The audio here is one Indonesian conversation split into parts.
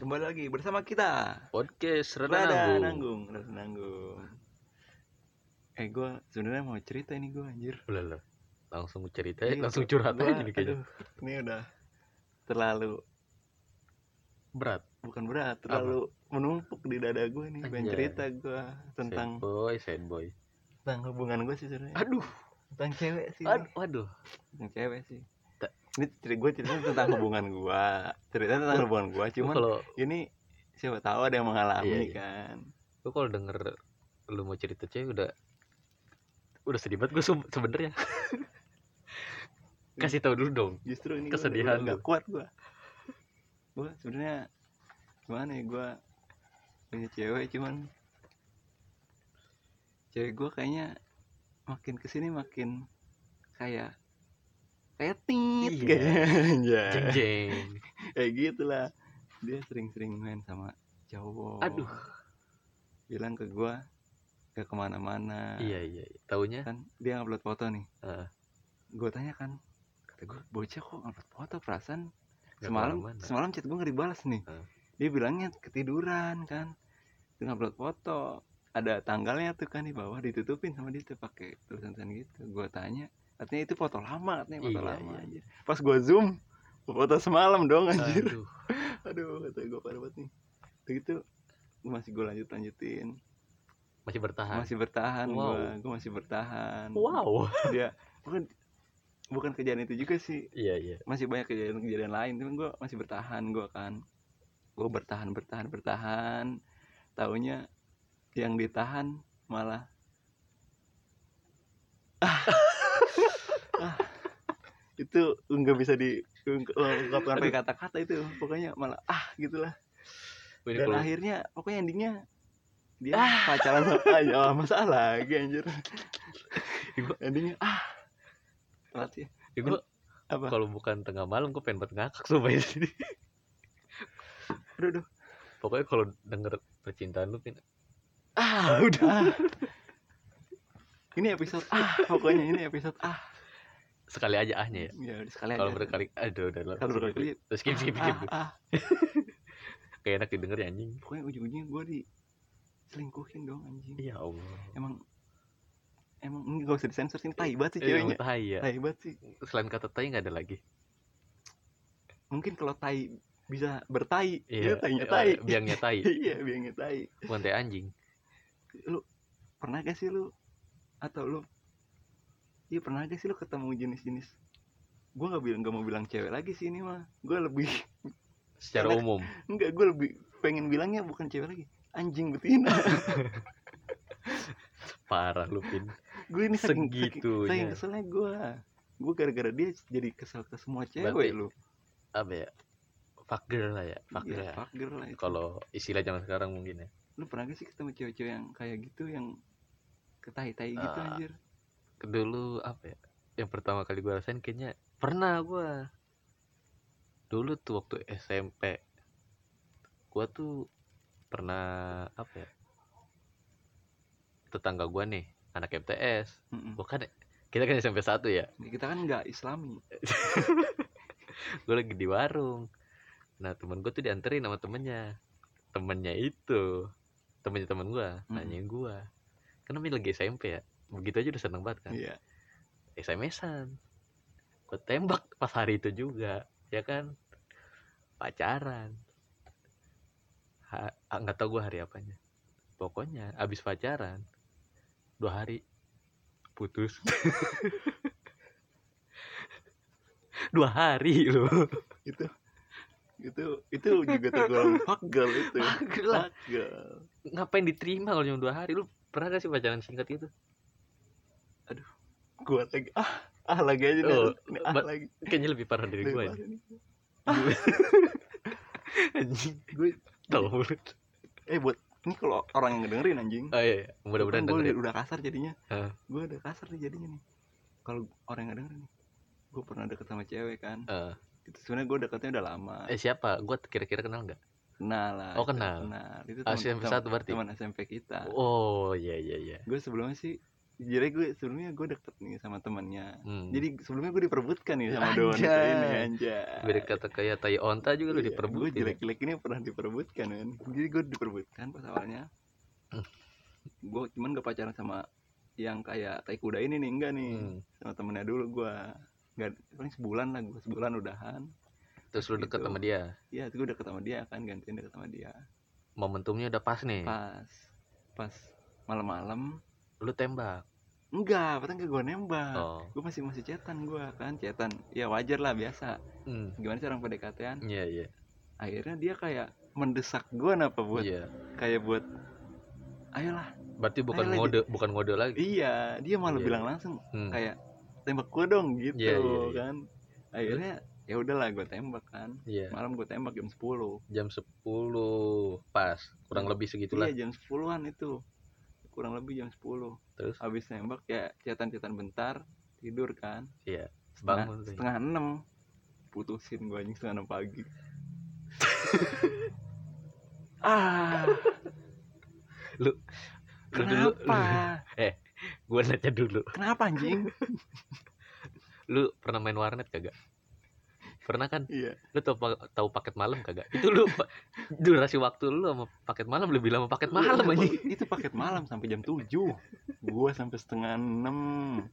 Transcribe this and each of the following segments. kembali lagi bersama kita podcast Rada Renang Nanggung. Nanggung Rada Nanggung eh gue sebenarnya mau cerita ini gue anjir Ulah lah. Langsung cerita, Ini Eh, langsung untuk curhat Iya, gua, aja nih kayaknya. aduh, ini udah terlalu Berat. bukan berat terlalu menumpuk di dada gue nih pengen Anjay. cerita gue tentang Iya. sad boy, sad boy. tentang hubungan gue sih sebenarnya Aduh, tentang cewek sih aduh, aduh. tentang cewek sih Ta- ini cerita gue cerita tentang hubungan gue cerita tentang hubungan gue Cuman cuman kalau ini siapa tahu ada yang mengalami Iya, iya. kan gua kalau denger lu mau cerita cewek udah udah sedih banget gue sebenarnya. Kasih tahu dulu dong. justru ini Kesedihan gue nggak kuat gue gue sebenarnya gimana ya gue punya cewek cuman cewek gue kayaknya makin kesini makin kayak kayak tit Iya. kayaknya. Anjay. Jeng jeng. kayak gitulah dia sering-sering main sama cowok Aduh. bilang ke gue ke kemana-mana Iya iya. iya. Taunya kan dia ngupload foto nih Heeh. gue tanya kan kata gue bocah kok ngupload foto perasaan Nggak semalam kemana-mana." semalam chat gue nggak dibalas nih Heeh. dia bilangnya ketiduran kan dia ngupload foto ada tanggalnya tuh kan di bawah ditutupin sama dia tuh pakai tulisan-tulisan gitu gue tanya katanya itu foto lama katanya foto Iya, lama iya. Ah. anjir. pas gue zoom foto semalam dong anjir aduh. aduh kata gue parah banget nih Udah gitu gua masih gue lanjut lanjutin Masih bertahan. masih bertahan Wow. gue gue masih bertahan Wow. dia bukan bukan kejadian itu juga sih Iya iya. masih banyak kejadian-kejadian lain tapi gue masih bertahan gue kan gue bertahan bertahan bertahan taunya yang ditahan malah Ah. Ah. itu nggak bisa diungkapkan pakai kata-kata itu pokoknya malah ah gitulah Gua ini dan kalau- Ah. akhirnya pokoknya endingnya dia pacaran sama ya masalah lagi anjir Gua- endingnya ah telat ya Ya, gua apa kalau bukan tengah malam gue pengen banget ngakak sumpah di sini. aduh aduh. Pokoknya kalau denger percintaan lu pin ah udah Ah. Ini episode ah pokoknya ini episode ah. sekali aja ahnya ya. Ya udah sekali Kalau aja. berkali aduh udah lah. Kalau berkali-kali, Terus skip skip ah, skip. ah. Kayak enak didengar ya anjing. Pokoknya ujung-ujungnya gue diselingkuhin dong anjing. Ya Allah. Emang emang ini gak usah disensor sih ini tai banget sih Eh, ceweknya. tai ya. Tai banget sih. Selain kata tai enggak ada lagi. Mungkin kalau tai bisa bertai, dia Iya. tainya eh, tai. Biangnya tai. Iya, biangnya tai. Bukan tai anjing. Lu pernah gak sih lu atau lu Iya pernah gak sih lu ketemu jenis-jenis Gue gak, bilang, gak mau bilang cewek lagi sih ini mah Gue lebih Secara Enak. umum. Enggak, gue lebih pengen bilangnya bukan cewek lagi Anjing betina Parah lu pin. Gue ini saking, Segitunya. saking, saking keselnya gue Gue gara-gara dia jadi kesel ke semua cewek Berarti lu Apa ya? Fuck girl lah ya. Fuck girl. Iya, fuck girl lah itu. Kalau istilah zaman sekarang mungkin ya. Lu pernah gak sih ketemu cewek-cewek yang kayak gitu Yang ketai-tai gitu Ah. anjir dulu apa ya yang pertama kali gue rasain kayaknya pernah gue dulu tuh waktu SMP gue tuh pernah apa ya tetangga gue nih anak MTS Mm-mm. gue kan kita kan SMP satu ya Kita kan gak islami gue lagi di warung nah temen gue tuh dianterin sama temennya temennya itu temennya temen gue Mm. nanyain gue kan namanya lagi SMP ya begitu aja udah seneng banget kan Iya SMS-an. Gue tembak pas hari itu juga, ya kan? Pacaran. Ha- ah, nggak tahu gue hari apanya. Pokoknya abis pacaran dua hari putus. dua hari loh. Itu itu itu juga tergolong fuck girl itu Lah, fuck girl Ngapain diterima kalau cuma dua hari? Lu pernah gak sih pacaran singkat gitu? gue lagi ah ah lagi aja nih, Oh, Ini ah but- lagi Kayaknya lebih parah dari ya. gue. Anjing, gue tolong mulut. eh buat ini kalau orang yang dengerin anjing Oh iya, iya. mudah-mudahan gue dengerin. Kan udah kasar jadinya Heeh. gue udah kasar nih jadinya nih kalau orang yang denger nih gue pernah deket sama cewek kan Heeh. itu sebenarnya gue deketnya udah lama Eh siapa? Gue kira-kira kenal nggak? kenal lah oh, kita kenal. kenal itu Ah, teman SMP satu berarti? teman SMP kita Oh iya iya iya. gue sebelumnya sih jadi gue sebelumnya gue deket nih sama temannya Hmm. jadi sebelumnya gue diperbutkan nih sama Don Anjay. ini anjay Beri kata kayak tai onta juga eh, Iya, lu ya? gue diperbutin. jelek-jelek ini pernah diperbutkan kan jadi gue diperbutkan pas awalnya Hmm. gue cuman gak pacaran sama yang kayak tai kuda ini nih enggak nih Hmm. sama temennya dulu gue nggak paling sebulan lah gue sebulan udahan Terus lu deket Gitu. sama dia. ya gue deket sama dia kan gantian deket sama dia Momentumnya udah pas nih. pas pas malam-malam Lu tembak. enggak pertama gue nembak Oh. gue masih masih cetan gue kan cetan ya wajar lah biasa Hmm. gimana sih orang PDKT-an Iya, iya. akhirnya dia kayak mendesak gue apa buat Iya. kayak buat ayolah Berarti bukan Ayo lagi. ngode, bukan ngode lagi. Iya, dia malah Iya. bilang langsung Hmm. kayak tembak gua dong gitu Iya, iya, iya. kan. Akhirnya ya udahlah gua tembak kan. Iya. Malam gua tembak jam 10. Jam 10 pas, kurang lebih segitulah. Iya, jam 10-an itu. Kurang lebih jam 10. Terus Habis nembak ya cetan-cetan bentar, tidur kan. Iya, Setengah, bangun tuh. setengah 6 putusin gua anjing setengah 6 pagi. ah, Lu dulu- kenapa? gua nanya dulu. kenapa anjing? Lu pernah main warnet kagak? Pernah kan? Iya. Lu tau, pa- tau paket malam kagak? Itu lu pa- durasi waktu lu sama paket malam lebih lama paket malam Iya, anjing. itu paket malam sampai jam 7 gua sampai setengah 6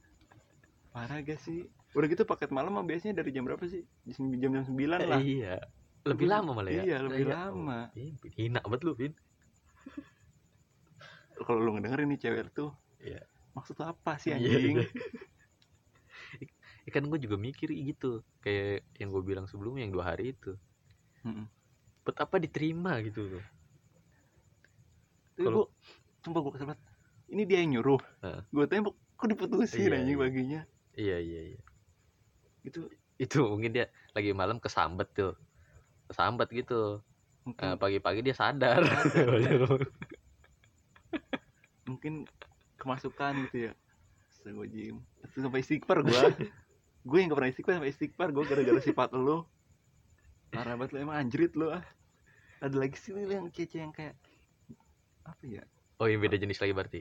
parah gak sih udah gitu paket malam mah biasanya dari jam berapa sih jam jam, jam 9 Kan lah Iya. Lebih lama malah ya. Iya, lebih Kayak- lama. Oh, Vin, Vin, Hina banget lu, Vin. kalau lu ngedengerin nih cewek tuh Iya. maksud lu apa sih Iya, anjing iya. Ya kan gue juga mikir gitu. Kayak yang gue bilang sebelumnya yang dua hari itu. Mm-mm. Buat apa diterima gitu loh. tapi gua Kalau- sumpah gua kesel banget. ini dia yang nyuruh Heeh. gua tembak kok diputusin Iya, anjing iya. baginya Iya, iya, iya. itu Itu mungkin dia lagi malam kesambet tuh. Kesambet gitu. Eh, mungkin pagi-pagi dia sadar. mungkin kemasukan gitu ya Astaga, Jim. Terus sampai istighfar gua gue yang gak pernah istighfar sampai istighfar gue gara-gara sifat lo parah banget lo emang anjrit lo ah ada lagi sih lo yang kece yang kayak apa ya oh, yang beda jenis lagi berarti.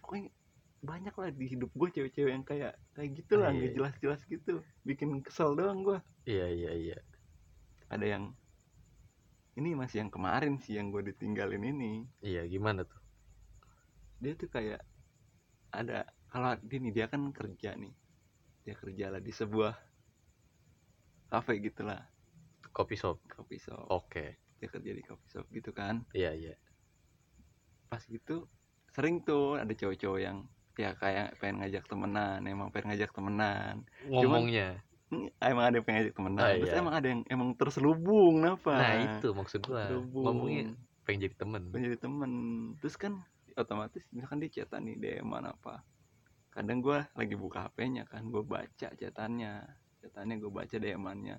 pokoknya banyak lah di hidup gue cewek-cewek yang kayak kayak gitu lah Ah, iya, nggak iya. jelas-jelas gitu bikin kesel doang gue Iya, iya, iya. ada yang ini masih yang kemarin sih yang gue ditinggalin ini Iya, gimana tuh? dia tuh kayak ada kalau dia nih dia kan kerja nih dia kerja lah di sebuah kafe gitulah Kopi shop. kopi shop Oke. dia kerja di coffee shop gitu kan Iya, iya. pas gitu sering tuh ada cowok-cowok yang ya kayak pengen ngajak temenan emang pengen ngajak temenan Ngomongnya. Hmm, emang ada yang pengen ngajak temenan Ah, terus iya. emang ada yang emang terselubung kenapa nah, itu maksud gua. terselubung Ngomongnya pengen jadi temen. pengen jadi temen terus kan otomatis misalkan dia cetan nih DM an apa kadang gua lagi buka HP-nya kan gue baca cetannya cetannya gue baca DM-annya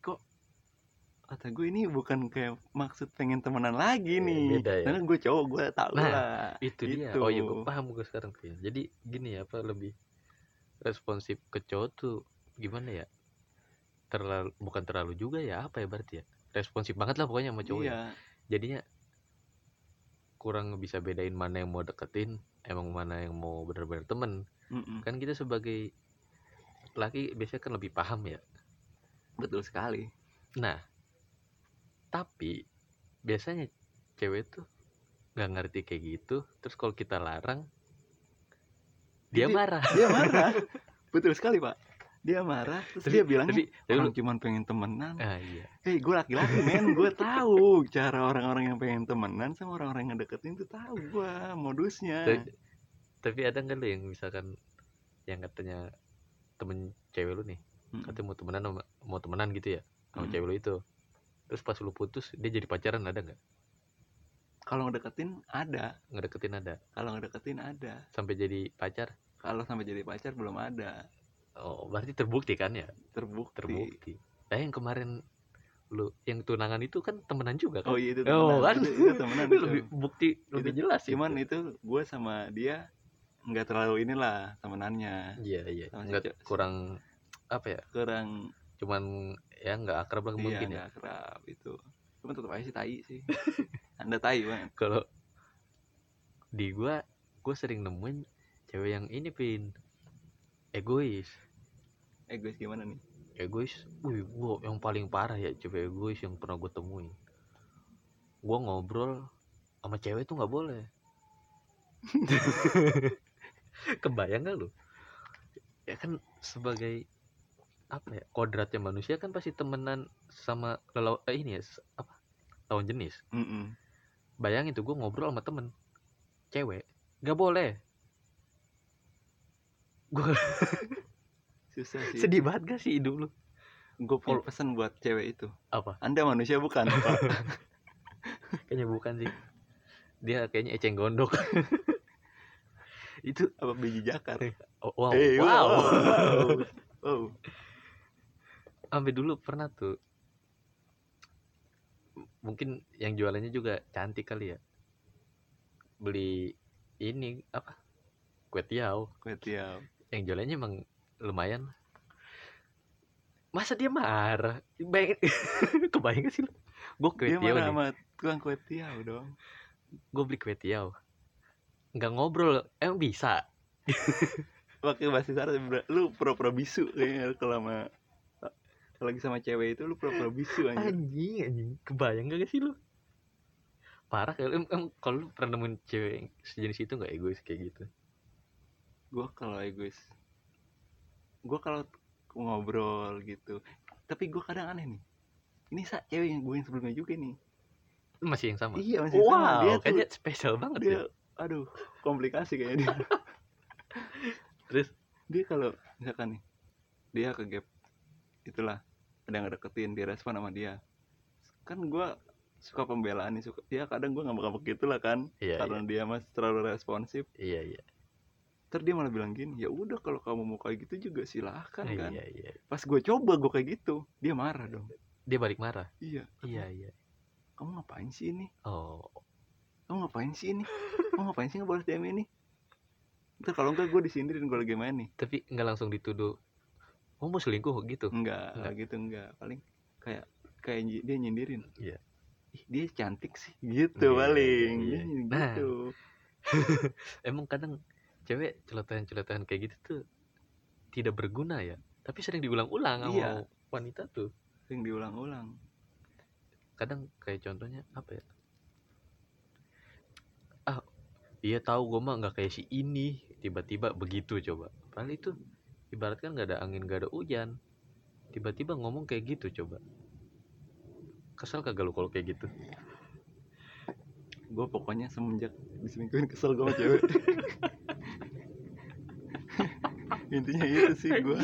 kok kata gue ini bukan kayak maksud pengen temenan lagi Iya, nih beda ya. karena gue cowok gue tahu Nah, lah itu dia Gitu. oh iya gue paham gue sekarang Vin. jadi gini ya apa lebih responsif ke cowok tuh gimana ya terlalu bukan terlalu juga ya apa ya berarti ya responsif banget lah pokoknya sama cowok ya. iya jadinya kurang bisa bedain mana yang mau deketin emang mana yang mau bener-bener temen Mm-mm. kan kita sebagai laki biasanya kan lebih paham ya betul sekali tapi biasanya cewek tuh nggak ngerti kayak gitu terus kalau kita larang dia Jadi- marah dia marah betul sekali pak dia marah terus Tapi- dia bilang tapi tapi lu- orang Eh. cuman pengen temenan ah iya Hei, gue laki-laki men, gue tahu cara orang-orang yang pengen temenan sama orang-orang yang ngedeketin tuh tahu gue modusnya. Tapi, tapi ada nggak lu yang misalkan yang katanya temen cewek lu nih Mm-mm. katanya mau temenan sama, mau temenan gitu ya sama Mm. cewek lu itu terus pas lu putus dia jadi pacaran ada nggak Kalau ngedeketin ada, ngedeketin ada kalau ngedeketin ada, sampai jadi pacar kalau sampai jadi pacar belum ada. oh berarti terbukti kan ya Terbukti. terbukti nah yang kemarin lu yang tunangan itu kan temenan juga Oh kan iya itu Oh, temenan. kan? Itu, itu temenan. Itu itu. lebih bukti lebih jelas Cuman gitu. itu gue sama dia nggak terlalu inilah temenannya iya iya sama si nggak cewek- kurang apa ya kurang cuman ya nggak akrab lah iya mungkin ya nggak kerap itu cuman tetap aja sih tai sih anda tai banget kalau di gua gue sering nemuin cewek yang ini pin egois egois Eh, gimana nih egois wih gua yang paling parah ya cewek egois yang pernah gue temuin gue ngobrol sama cewek tuh nggak boleh kebayang gak lu ya kan sebagai apa ya kodratnya manusia kan pasti temenan sama lelaw eh, ini ya s- apa lawan jenis Mm-mm. bayangin tuh gue ngobrol sama temen cewek gak boleh susah sih sedih banget gak sih hidup lu gue punya Kalau- pesan buat cewek itu Apa? anda manusia bukan Pak? kayaknya bukan sih dia kayaknya eceng gondok itu apa biji jakar oh, wow Eh, wow wow. wow. sampai dulu pernah tuh M- mungkin yang jualannya juga cantik kali ya beli ini apa kue tiaw Kue tiaw. yang jualannya emang lumayan masa dia marah Bayang- kebayang gak sih lu gue kue dia tiaw marah nih sama tukang kue tiaw dong gue beli kue tiaw nggak ngobrol emang bisa pakai bahasa isyarat ber- lu pura-pura bisu kayaknya kalau sama kalau lagi sama cewek itu lu pura-pura bisu aja anjing anjing kebayang gak sih lu parah kalau em, em- kalau lu pernah nemuin cewek yang sejenis itu nggak egois kayak gitu gua kalau egois gua kalau ngobrol gitu tapi gua kadang aneh nih ini sa cewek yang gue yang sebelumnya juga nih Lu masih yang sama iya masih wow sama. dia tuh- kayaknya spesial banget dia ya aduh komplikasi kayaknya dia terus dia kalau misalkan nih dia ke gap itulah ada yang deketin dia respon sama dia kan gua suka pembelaan nih suka ya kadang gua ngambek-ngambek gitu lah kan iya karena dia mas terlalu responsif iya iya terus dia malah bilang gini ya udah kalau kamu mau kayak gitu juga silahkan iya, kan iya iya pas gue coba gue kayak gitu dia marah dong dia balik marah iya iya iya kamu ngapain sih ini oh kamu ngapain sih ini kamu ngapain sih ngebalas DM ini ntar kalau enggak gue disindirin gue lagi main nih tapi nggak langsung dituduh oh mau selingkuh gitu enggak Enggak. gitu enggak paling kayak kayak nyi- dia nyindirin Iya. Ih, dia cantik sih gitu Iya, paling iya, Dia iya. nyindir Nah. gitu emang kadang cewek celotehan-celotehan kayak gitu tuh tidak berguna ya tapi sering diulang-ulang sama Iya. wanita tuh yang diulang-ulang kadang kayak contohnya apa ya ah iya tahu gue mah nggak kayak si ini tiba-tiba begitu coba padahal itu ibarat kan nggak ada angin nggak ada hujan tiba-tiba ngomong kayak gitu coba kesel kagak lu kalau kayak gitu gue pokoknya semenjak diselingkuhin kesel gue sama cewek intinya itu sih gue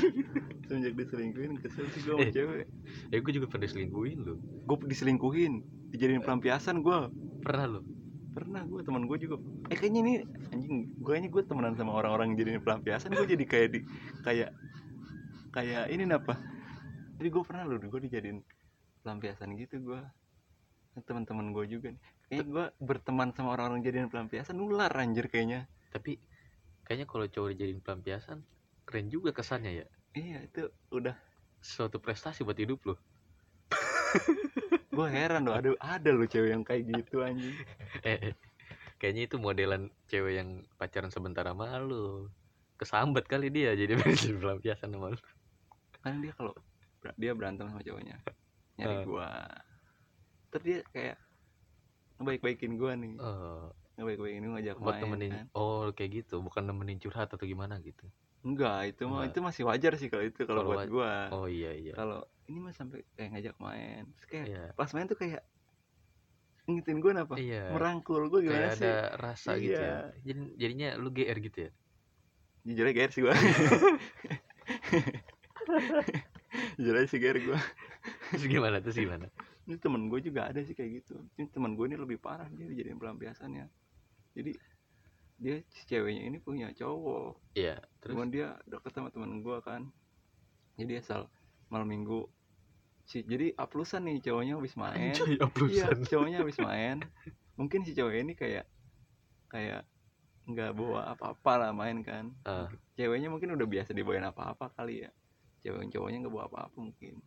semenjak diselingkuhin kesel sih gue sama Eh. cewek ya gue juga pernah selingkuhin lu gue diselingkuhin dijadiin pelampiasan gue pernah lu pernah gue teman gue juga eh kayaknya ini anjing gue kayaknya gue temenan sama orang-orang yang jadiin pelampiasan gue jadi kayak di kayak kayak ini apa jadi gue pernah loh gue dijadiin pelampiasan gitu gue teman-teman gue juga nih kayaknya gue berteman sama orang-orang jadiin pelampiasan nular anjir kayaknya tapi kayaknya kalau cowok dijadiin pelampiasan keren juga kesannya ya Iya itu udah suatu prestasi buat hidup lu gue heran loh ada ada loh cewek yang kayak gitu anjing eh, eh. kayaknya itu modelan cewek yang pacaran sebentar sama lu kesambet kali dia jadi biasa pelampiasan sama lu kan dia kalau ber- dia berantem sama cowoknya nyari Eh. gua terus dia kayak ngebaik-baikin gua nih Eh, ngebaik-baikin gua ngajak buat main nemenin Oh, kan. oh kayak gitu bukan nemenin curhat atau gimana gitu enggak itu mah Enggak. itu masih wajar sih kalau itu kalau Kalau buat wa- gua oh iya iya kalau ini mah sampai kayak ngajak main terus kayak iya pas main tuh kayak ngitin gua apa iya merangkul gua gimana kayak sih ada rasa Iya. gitu ya jadi jadinya lu gr gitu ya jujur aja GR sih gua jujur aja sih GR gua terus gimana terus gimana ini temen gue juga ada sih kayak gitu ini temen gue ini lebih parah dia dijadiin pelampiasan ya jadi dia si ceweknya ini punya cowok iya terus cuman dia deket sama temen gue kan jadi asal malam minggu si jadi aplusan nih cowoknya habis main anjay iya aplusan cowoknya habis main mungkin si cowok ini kayak kayak nggak bawa apa-apa lah main kan Ah. ceweknya mungkin udah biasa dibawain apa-apa kali ya cewek cowoknya nggak bawa apa-apa mungkin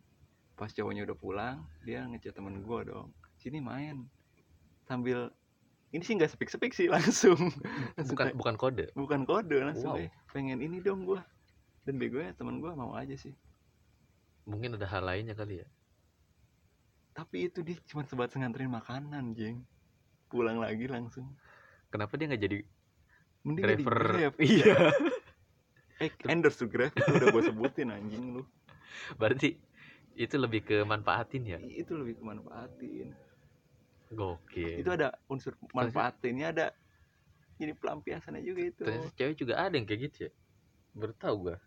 pas cowoknya udah pulang dia ngechat temen gue dong sini main sambil ini sih nggak sepik sepik sih langsung Langsung bukan kayak, bukan kode bukan kode langsung Wow. kayak, pengen ini dong gua dan begonya teman gua mau aja sih mungkin ada hal lainnya kali ya tapi itu dia cuma sebatas nganterin makanan jeng pulang lagi langsung kenapa dia nggak jadi mending jadi Driver. Grab. iya eh endorse to Grab itu udah gua sebutin anjing lu berarti itu lebih ke manfaatin ya itu lebih kemanfaatin gokil itu ada unsur manfaatinnya ada jadi pelampiasannya juga itu ternyata cewek juga ada yang kayak gitu ya baru tahu gua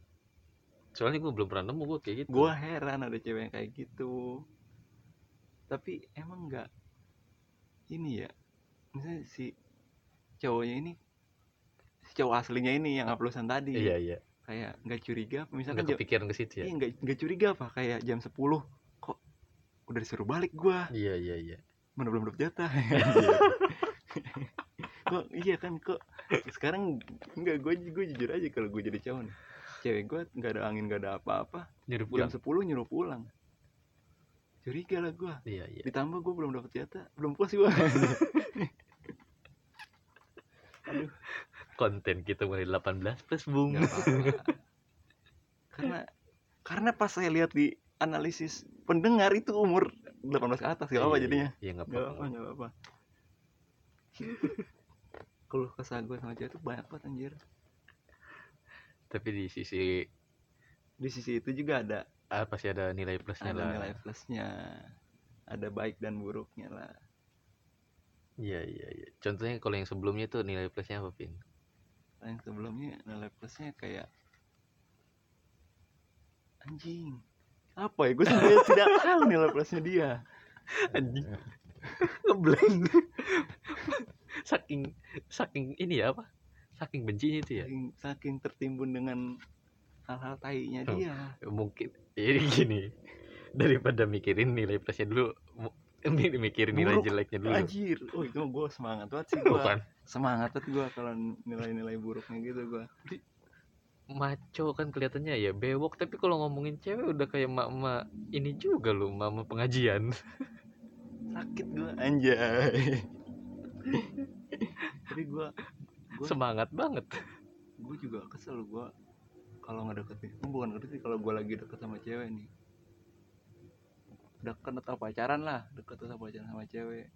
soalnya gua belum pernah nemu gua kayak gitu gua heran ada cewek yang kayak gitu tapi emang nggak ini ya misalnya si cowoknya ini si cowok aslinya ini yang uploadan tadi iya iya kayak nggak curiga apa? misalkan nggak jam, kepikiran ke situ ya iya, nggak nggak curiga apa kayak jam 10 kok udah disuruh balik gua iya iya iya mana belum dapat jatah kok iya kan kok sekarang nggak gue gue jujur aja kalau gue jadi cowok nih cewek gue nggak ada angin nggak ada apa-apa nyuruh jam pulang 10 nyuruh pulang curiga lah gue iya iya ditambah gue belum dapat jatah belum puas gue konten kita mulai 18 plus bung nggak apa-apa karena karena pas saya lihat di analisis pendengar itu umur 18 ke atas gak apa Iya, jadinya iya nggak Gak apa-apa apa, gak apa. Keluh kesah gue sama cewek tuh banyak banget anjir. tapi di sisi Di sisi itu juga ada ah, pasti ada nilai plusnya ada lah nilai plusnya, ada baik dan buruknya lah. iya iya iya contohnya kalau yang sebelumnya tuh nilai plusnya apa pin Yang sebelumnya nilai plusnya kayak anjing. Apa ya? Gue sebenarnya tidak tahu nilai plusnya dia. anjing ngeblank saking saking ini ya apa saking bencinya itu ya Saking, saking tertimbun dengan hal-hal tainya Oh. dia. mungkin jadi gini daripada mikirin nilai plusnya dulu mu- mi- mikirin nilai Buruk. jeleknya dulu Anjir, oh itu gue semangat banget sih gue. bukan Semangat banget gue kalau nilai-nilai buruknya gitu gue. maco kan kelihatannya ya bewok tapi kalau ngomongin cewek udah kayak emak-emak ini juga loh mama pengajian sakit gua Hmm. anjay tapi gua Gua- semangat banget gua juga kesel gua kalau nggak deketin bukan ngerti kalau gua lagi deket sama cewek nih deket atau pacaran lah deket atau pacaran sama cewek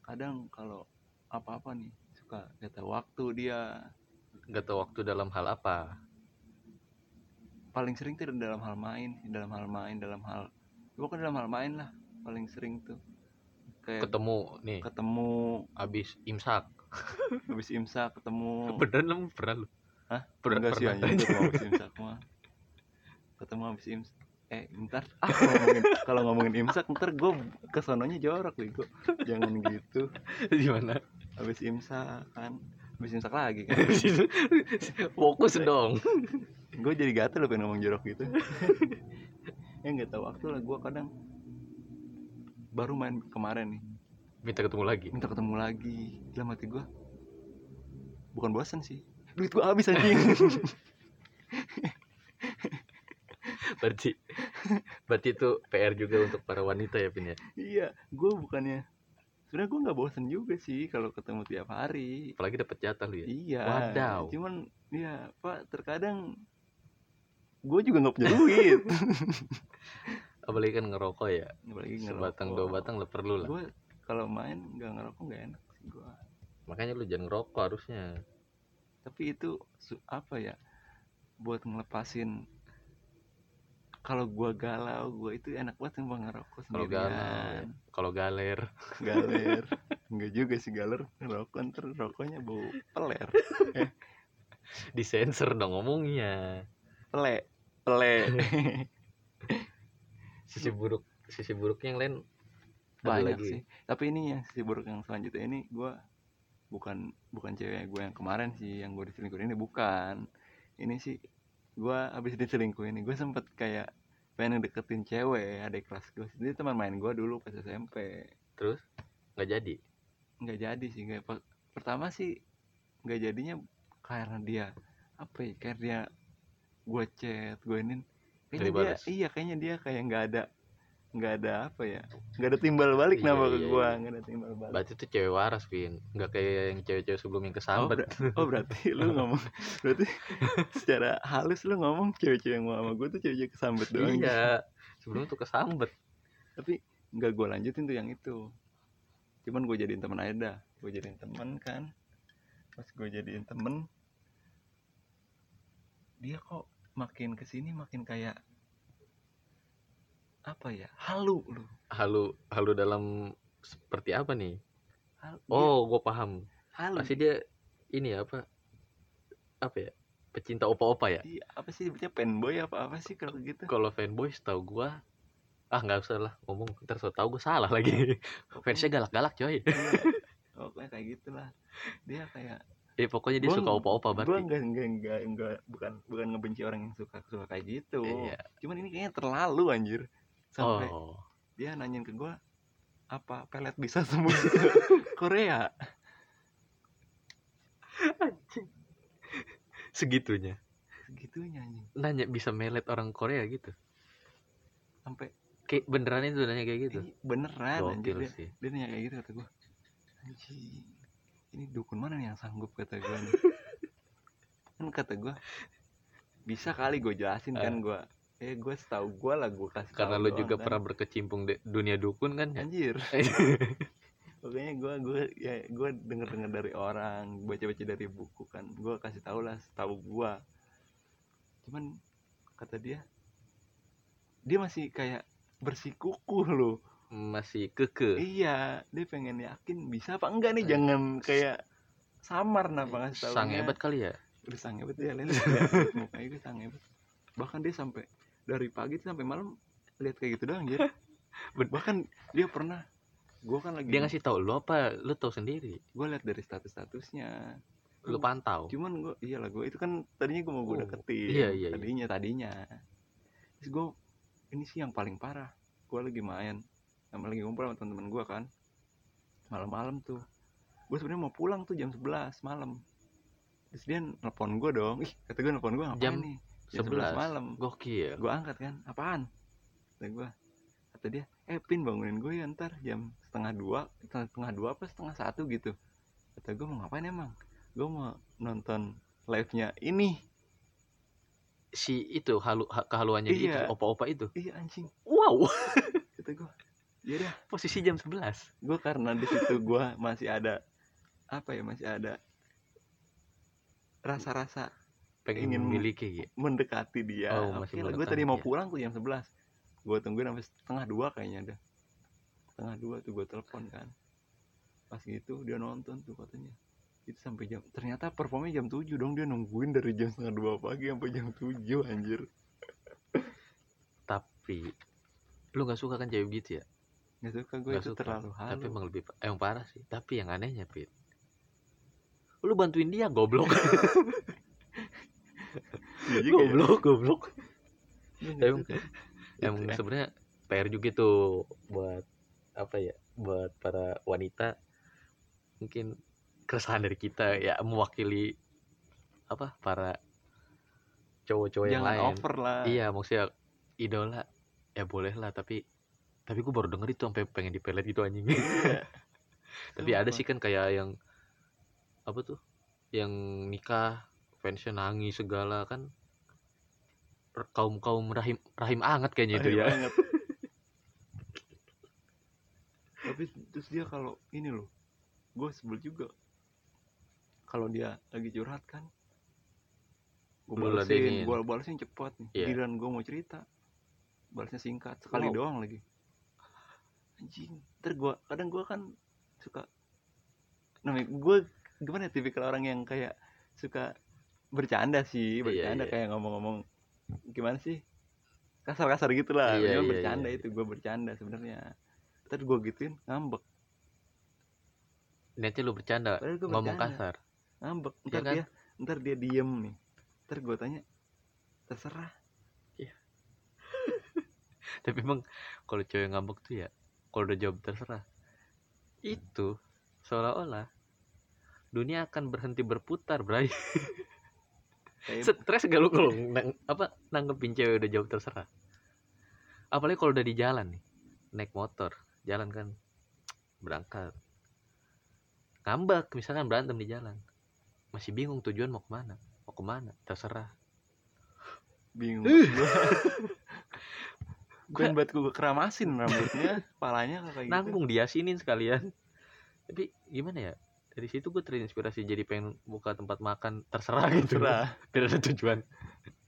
kadang kalau apa-apa nih suka gak tahu waktu dia nggak tahu waktu dalam hal apa paling sering tuh dalam hal main dalam hal main dalam hal gua kan dalam hal main lah paling sering tuh Eh. kayak ketemu nih ketemu abis imsak habis imsak ketemu beneran lu pernah lu Hah? pernah Enggak sih pernah anjing ketemu habis imsak mah. Ketemu habis imsak. Eh, ntar ah, kalau ngomongin kalau ngomongin imsak ntar gue kesononya jorok bego. Jangan gitu. gimana Habis imsak kan. Habis imsak lagi kan. fokus dong Gue jadi gatel loh pengen ngomong jorok gitu. ya nggak tahu waktu lah gue kadang baru main kemarin nih minta ketemu lagi minta ketemu lagi dalam hati gue bukan bosan sih duit gue habis anjing berarti berarti itu PR juga untuk para wanita ya pin ya Iya, gue bukannya sebenarnya gue nggak bosen juga sih kalau ketemu tiap hari. apalagi dapat jatah lu ya Iya. Wadaw. Cuman ya Pak terkadang gue juga nggak punya duit. apalagi kan ngerokok ya Apalagi sebatang dua batang lah perlu lah Gue kalau main nggak ngerokok nggak enak sih gue. makanya lu jangan ngerokok harusnya Tapi itu su- apa ya? Buat ngelepasin kalau gue galau gue itu enak banget sama ngerokok kalau sendirian. galau ya. kalau galer Galer. Enggak juga sih galer ngerokok ntar rokoknya bau peler. disensor dong ngomongnya Pele. Pele. sisi buruk sisi buruknya yang lain ada banyak lagi. sih tapi ini yang sisi buruk yang selanjutnya ini gua bukan bukan cewek gue yang kemarin sih yang gue diselingkuhin ini bukan ini sih gua abis diselingkuhin ini gue sempet kayak pengen deketin cewek adik kelas gue sendiri teman main gua dulu pas SMP terus nggak jadi nggak jadi sih nggak pe- pertama sih nggak jadinya karena dia apa ya karena dia gue chat gue ini kayaknya Nggak dia dibalas. iya kayaknya dia kayak nggak ada nggak ada apa ya nggak ada timbal balik Iya, nama ke iya, gua iya. nggak ada timbal balik berarti tuh cewek waras Vin nggak kayak yang cewek-cewek sebelum yang kesambet ber- oh berarti lu ngomong berarti secara halus lu ngomong cewek-cewek yang mau sama gue tuh cewek-cewek kesambet doang iya sebelum tuh kesambet tapi nggak gue lanjutin tuh yang itu cuman gue jadiin temen aja dah gue jadiin temen kan pas gue jadiin temen dia kok makin kesini makin kayak apa ya halu lu halu halu dalam seperti apa nih Hal- dia oh gue paham halu pasti dia ini ya, apa apa ya pecinta opa-opa ya Iya, apa sih sebutnya penboy apa apa sih kalau gitu kalau fanboy tahu gua ah nggak usah lah ngomong ntar so tau gue salah lagi fansnya galak-galak coy Iya, pokoknya kayak gitulah dia kayak eh pokoknya dia Gua gitu, suka ng- opa-opa gue Oh, berarti enggak enggak enggak enggak bukan bukan ngebenci orang yang suka suka kayak gitu Iya. cuman ini kayaknya terlalu anjir sampai oh dia nanyain ke gue apa pelet bisa sembuh gitu?" Korea segitunya segitunya Gitu anjing nanya bisa melet orang Korea gitu sampai kayak beneran itu nanya kayak gitu ini Iya, beneran anjir gokil dia, sih dia nanya kayak gitu kata gue anjing ini dukun mana nih yang sanggup kata gue nih kan kata gue bisa kali gue jelasin kan gue eh gue setahu gue lah gue kasih karena tahu lu doang juga kan. Iya. pernah berkecimpung di dunia dukun kan ya anjir pokoknya gue gue ya gue denger denger dari orang baca baca dari buku kan gue kasih tau lah setahu gue cuman kata dia dia masih kayak bersikukuh loh masih keke iya dia pengen yakin bisa apa enggak nih Eh. jangan kayak samar napa ngasih tau sang hebat kali ya udah sang hebat ya lihat lihat mukanya dia sang hebat bahkan dia sampai dari pagi tuh sampai malam lihat kayak gitu doang jadi Ben- bahkan dia pernah gue kan lagi dia ngasih tau lu apa lu tahu sendiri gue lihat dari status statusnya lu Iya, pantau cuman gue iyalah gue itu kan tadinya gue mau gue Oh, deketin iya, iya, iya. tadinya tadinya terus gue ini sih yang paling parah gue lagi main sama lagi ngumpul sama teman-teman gue kan malam-malam tuh gue sebenarnya mau pulang tuh jam 11 malam terus dia nelpon gue dong ih kata gue nelpon gue ngapain Jam nih jam 11 sebelas malam gokil gue angkat kan apaan kata gue kata dia eh pin bangunin gue ya ntar jam setengah dua setengah setengah dua apa setengah satu gitu kata gue mau ngapain emang gue mau nonton live nya ini si itu halu ha- kehaluannya dia Iya. itu opa-opa itu iya anjing wow kata gue ya udah posisi jam 11 gue karena di situ gue masih ada apa ya masih ada rasa-rasa pengen Ingin memiliki ya mendekati dia Oh, oke masih lah gue mendekati tadi mau dia. pulang tuh jam 11 gue tungguin sampai setengah dua kayaknya ada setengah dua tuh gue telepon kan pas gitu dia nonton tuh katanya itu sampai jam ternyata performnya jam 7 dong dia nungguin dari jam setengah dua pagi sampai jam 7 anjir tapi lu nggak suka kan cewek gitu ya nggak suka gue Nggak itu suka, terlalu tapi halu emang lebih eh, yang parah sih tapi yang anehnya pit lu bantuin dia goblok Iya juga ya. goblok goblok Iya nggak Emang- suka. emang Itu, eh, sebenarnya PR juga tuh buat apa ya buat para wanita mungkin keresahan dari kita ya mewakili apa para cowok-cowok yang jangan lain over lah iya maksudnya idola ya boleh lah tapi tapi gue baru denger itu sampai pengen dipelet gitu anjing tapi ada Sumpah. sih kan kayak yang apa tuh yang nikah fansnya nangis segala kan kaum kaum rahim rahim anget kayaknya itu Bahaya ya banget. tapi terus dia kalau ini loh gue sebel juga kalau dia lagi curhat kan gue Lu balesin ladenin. gue balesin cepat nih Iya. giliran gue mau cerita balasnya singkat sekali Wow. doang lagi anjing ntar gue kadang gue kan suka namanya gue gimana ya, tipikal orang yang kayak suka bercanda sih Iya, bercanda iya. kayak ngomong-ngomong gimana sih kasar-kasar gitu lah Iya, Cuman iya, bercanda iya. itu gue bercanda sebenarnya ntar gue gituin ngambek niatnya lu bercanda Padahal gua ngomong bercanda. kasar ngambek Iya ntar kan? dia ntar dia diem nih ntar gue tanya terserah tapi emang kalau cewek ngambek tuh ya kalau udah jawab terserah itu seolah-olah dunia akan berhenti berputar bray kayak stres gak lu kalau nang- apa nanggepin cewek udah jawab terserah apalagi kalau udah di jalan nih naik motor jalan kan berangkat ngambek misalkan berantem di jalan masih bingung tujuan mau kemana mau kemana terserah bingung Ih. gue buat gue keramasin rambutnya kepalanya kayak gitu nanggung dia sinin sekalian tapi gimana ya dari situ gue terinspirasi jadi pengen buka tempat makan terserah gitu Terserah. tidak ada tujuan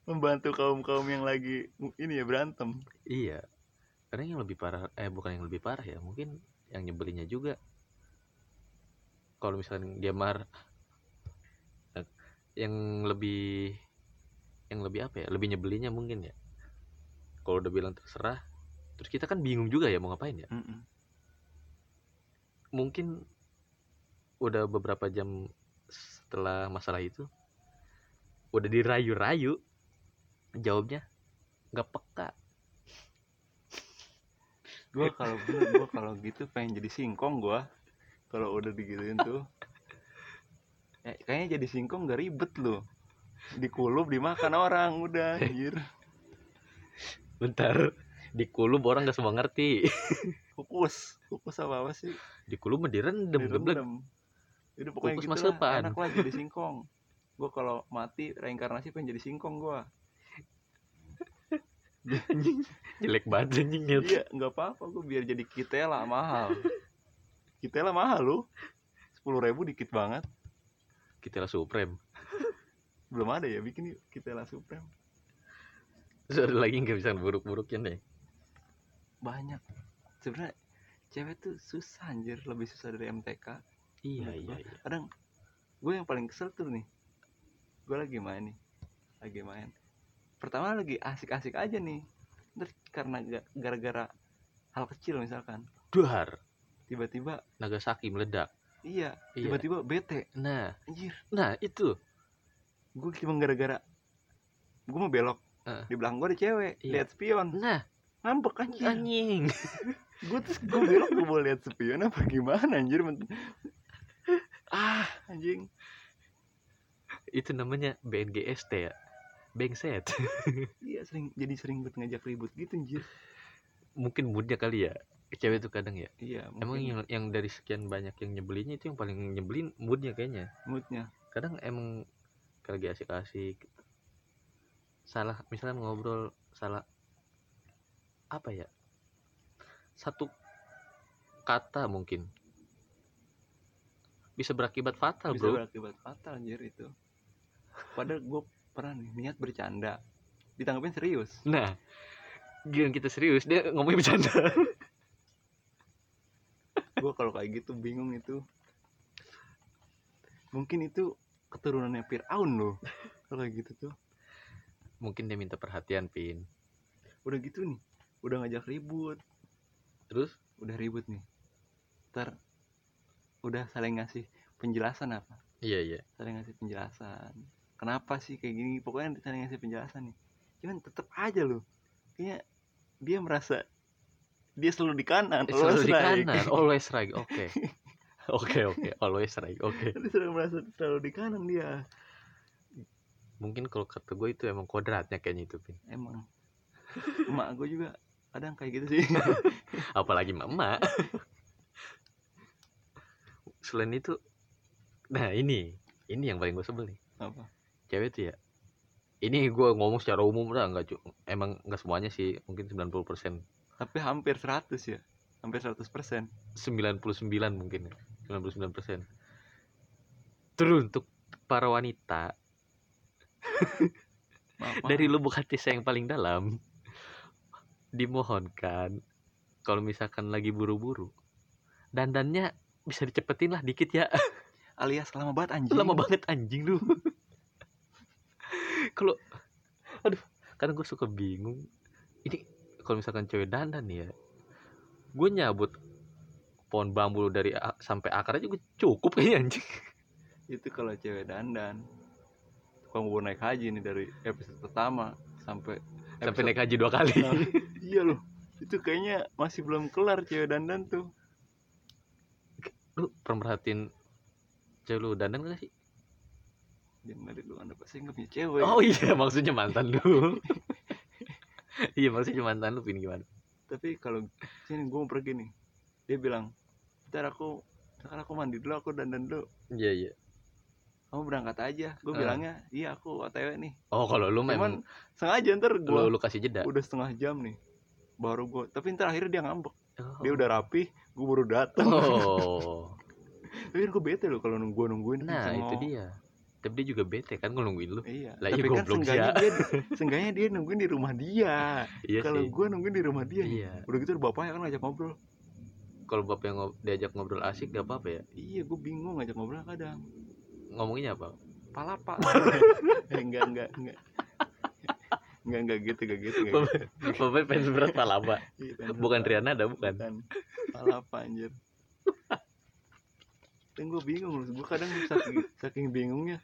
membantu kaum kaum yang lagi ini ya berantem Iya. Karena yang lebih parah eh bukan yang lebih parah ya, mungkin yang nyebelinnya juga. Kalau misalnya dia marah eh, yang lebih yang lebih apa ya? Lebih nyebelinnya mungkin ya. Kalau udah bilang terserah, terus kita kan bingung juga ya mau ngapain ya. Mungkin udah beberapa jam setelah masalah itu udah dirayu-rayu jawabnya nggak peka gue kalau bener gue kalau gitu pengen jadi singkong gue kalau udah digituin tuh Eh, kayaknya jadi singkong gak ribet loh dikulub dimakan orang udah anjir Bentar. Di kulub orang gak semua ngerti. kukus kukus apa apa sih Di kulub mah direndam, geblek. direndam itu pokoknya Kukus gitu mah lah sepan. enak lah jadi singkong gue kalau mati reinkarnasi pengen jadi singkong gue Jelek banget anjing niat. iya nggak apa-apa gue biar jadi kitela mahal kitela mahal lu sepuluh ribu dikit banget Kita lah supreme. belum ada ya bikin yuk kitela supreme Terus ada lagi gak bisa buruk-buruknya nih. banyak sebenarnya cewek tuh susah anjir lebih susah dari MTK Menurut Iya, iya, gua. iya. kadang gue yang paling kesel tuh nih gue lagi main nih lagi main pertama lagi asik-asik aja nih ntar karena ga- gara-gara hal kecil misalkan Duhar. tiba-tiba Nagasaki meledak. iya Iya. tiba-tiba bete Nah, anjir nah itu. gue cuma gara-gara gue mau belok Heeh. di belakang gue ada cewek Iya. lihat spion Nah, ngambek anjir anjing. gue terus gue belok gue mau lihat spion apa gimana anjir Men- ah anjing Itu namanya BNGST ya. Bengset. iya sering jadi sering buat ngajak ribut gitu anjir Mungkin moodnya kali ya. Cewek tuh kadang ya. iya Emang mungkin yang, yang dari sekian banyak yang nyebelinnya itu yang paling nyebelin moodnya kayaknya. moodnya kadang emang kalau lagi asik-asik salah misalnya ngobrol salah apa ya satu kata mungkin bisa berakibat fatal bisa Ah, bro berakibat fatal anjir itu padahal gue pernah nih, niat bercanda ditanggapin serius nah giliran kita serius dia ngomongnya bercanda gue kalau kayak gitu bingung itu mungkin itu keturunannya Fir'aun loh kalau kayak gitu tuh mungkin dia minta perhatian pin udah gitu nih udah ngajak ribut terus udah ribut nih ter udah saling ngasih penjelasan apa iya iya saling ngasih penjelasan kenapa sih kayak gini pokoknya saling ngasih penjelasan nih cuman tetep aja loh kayaknya dia merasa dia selalu di kanan Eh, always selalu di right. kanan always right oke oke oke always right oke dia selalu merasa selalu di kanan dia mungkin kalau kata gue itu emang kodratnya kayaknya itu pin emang emak gue juga kadang kayak gitu sih apalagi mama selain itu nah ini ini yang paling gue sebel nih apa cewek tuh ya ini gue ngomong secara umum lah nggak cu- emang nggak semuanya sih mungkin 90 persen tapi hampir 100 ya hampir 100 persen 99 mungkin ya 99 persen teruntuk para wanita dari lubuk hati saya yang paling dalam dimohonkan kalau misalkan lagi buru-buru dandannya bisa dicepetin lah dikit ya alias lama banget anjing lama banget anjing lu kalau aduh kadang gue suka bingung ini kalau misalkan cewek dandan nih ya gue nyabut pohon bambu dari a- sampai akar aja gue cukup kayaknya anjing itu kalau cewek dandan tukang bubur naik haji nih dari episode pertama sampai sampai episode- naik haji dua kali Nah, iya loh itu kayaknya masih belum kelar cewek dandan tuh lu pernah merhatiin cewek lu dandan gak sih jangan dari lu anda pasti nggak punya cewek oh iya maksudnya mantan lu iya maksudnya mantan lu pin gimana tapi kalau sini gue mau pergi nih dia bilang ntar aku kan aku mandi dulu aku dandan dulu Iya iya. kamu berangkat aja gue Ah. bilangnya iya aku otw nih Oh kalau lu memang cuman sengaja ntar gue lu, lu kasih jeda. udah setengah jam nih baru gue tapi ntar akhirnya dia ngambek Oh. dia udah rapi gue baru datang Oh. tapi gue bete loh kalau nunggu nungguin Nah kenceng itu mau. dia. Tapi dia juga bete kan ngelungguin lu. iya Lah, iya, tapi kan goblok sih, sengganya dia sengganya dia nungguin di rumah dia Iya kalau sih. gue nungguin di rumah dia nih, Iya. udah gitu bapaknya kan ngajak ngobrol Kalau bapak yang ngob- diajak ngobrol asik gak apa-apa ya. iya gue bingung ngajak ngobrol kadang Ngomonginnya apa? palapa eh, enggak enggak enggak enggak enggak gitu enggak gitu, enggak gitu. Bapak fans berat palapa. Iya, pengen Bukan lupa. Riana ada bukan. bukan palapa anjir dan gue bingung loh gue kadang saking, saking bingungnya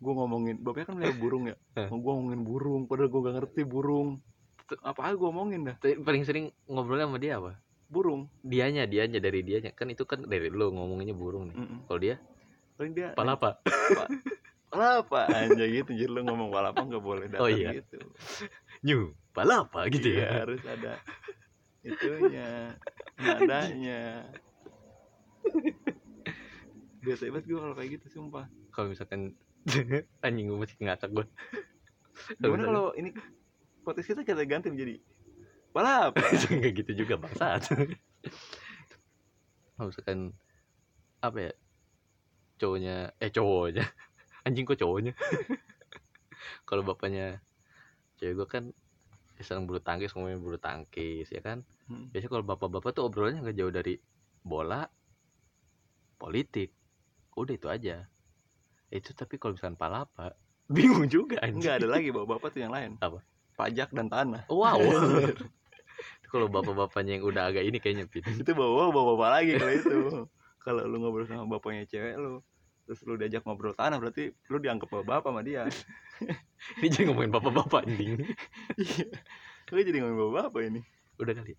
gue ngomongin bapaknya kan melihara burung ya Hah. gue ngomongin burung padahal gue gak ngerti burung apa gue ngomongin dah Tapi Paling sering ngobrolnya sama dia apa? burung Dianya, dianya dari dianya. Kan itu kan dari lu ngomonginnya burung nih. Mm-mm. Kalau dia paling dia palapa. palapa anjir gitu jadi lo ngomong palapa nggak boleh datang Oh, iya. gitu Nyu, palapa gitu Iya, ya. harus ada itunya nadanya biasa banget gue kalau kayak gitu sumpah Kalau misalkan anjing gue masih ngakak gue. gimana kalau ini podcast kita kita ganti menjadi balap nggak gitu juga bangsat kalau misalkan apa ya cowoknya eh cowoknya anjing kok cowoknya kalau bapaknya cewek gue kan ya seneng bulu tangkis ngomongin bulu tangkis ya kan Hmm. biasanya kalau bapak-bapak tuh obrolannya nggak jauh dari bola politik udah itu aja itu tapi kalau misalkan palapa bingung juga anjing nggak ada lagi bapak bapak tuh yang lain Apa? Oh. pajak dan tanah wow kalau bapak-bapaknya yang udah agak ini kayaknya Pin. itu bawa bawa bapak lagi kalau itu kalau lu ngobrol sama bapaknya cewek lu terus lu diajak ngobrol tanah berarti lu dianggap bapak bapak sama dia Ini jadi ngomongin bapak-bapak anjing. iya lu jadi ngomongin bapak bapak ini Udah kali.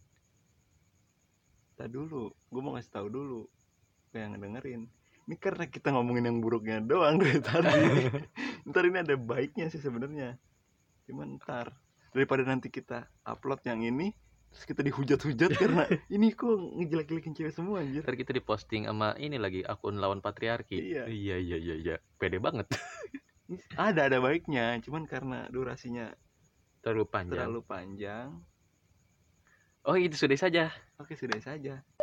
tak dulu gue mau ngasih tahu dulu ke yang dengerin ini karena kita ngomongin yang buruknya doang dari tadi ntar ini ada baiknya sih sebenarnya cuman ntar daripada nanti kita upload yang ini terus kita dihujat-hujat karena ini kok ngejelek-jelekin cewek semua anjir Ntar kita diposting sama ini lagi akun lawan patriarki. Iya. Iya iya iya iya. Pede banget. Ini ada ada baiknya cuman karena durasinya Terlalu panjang. terlalu panjang Oh itu sudah saja. oke sudah saja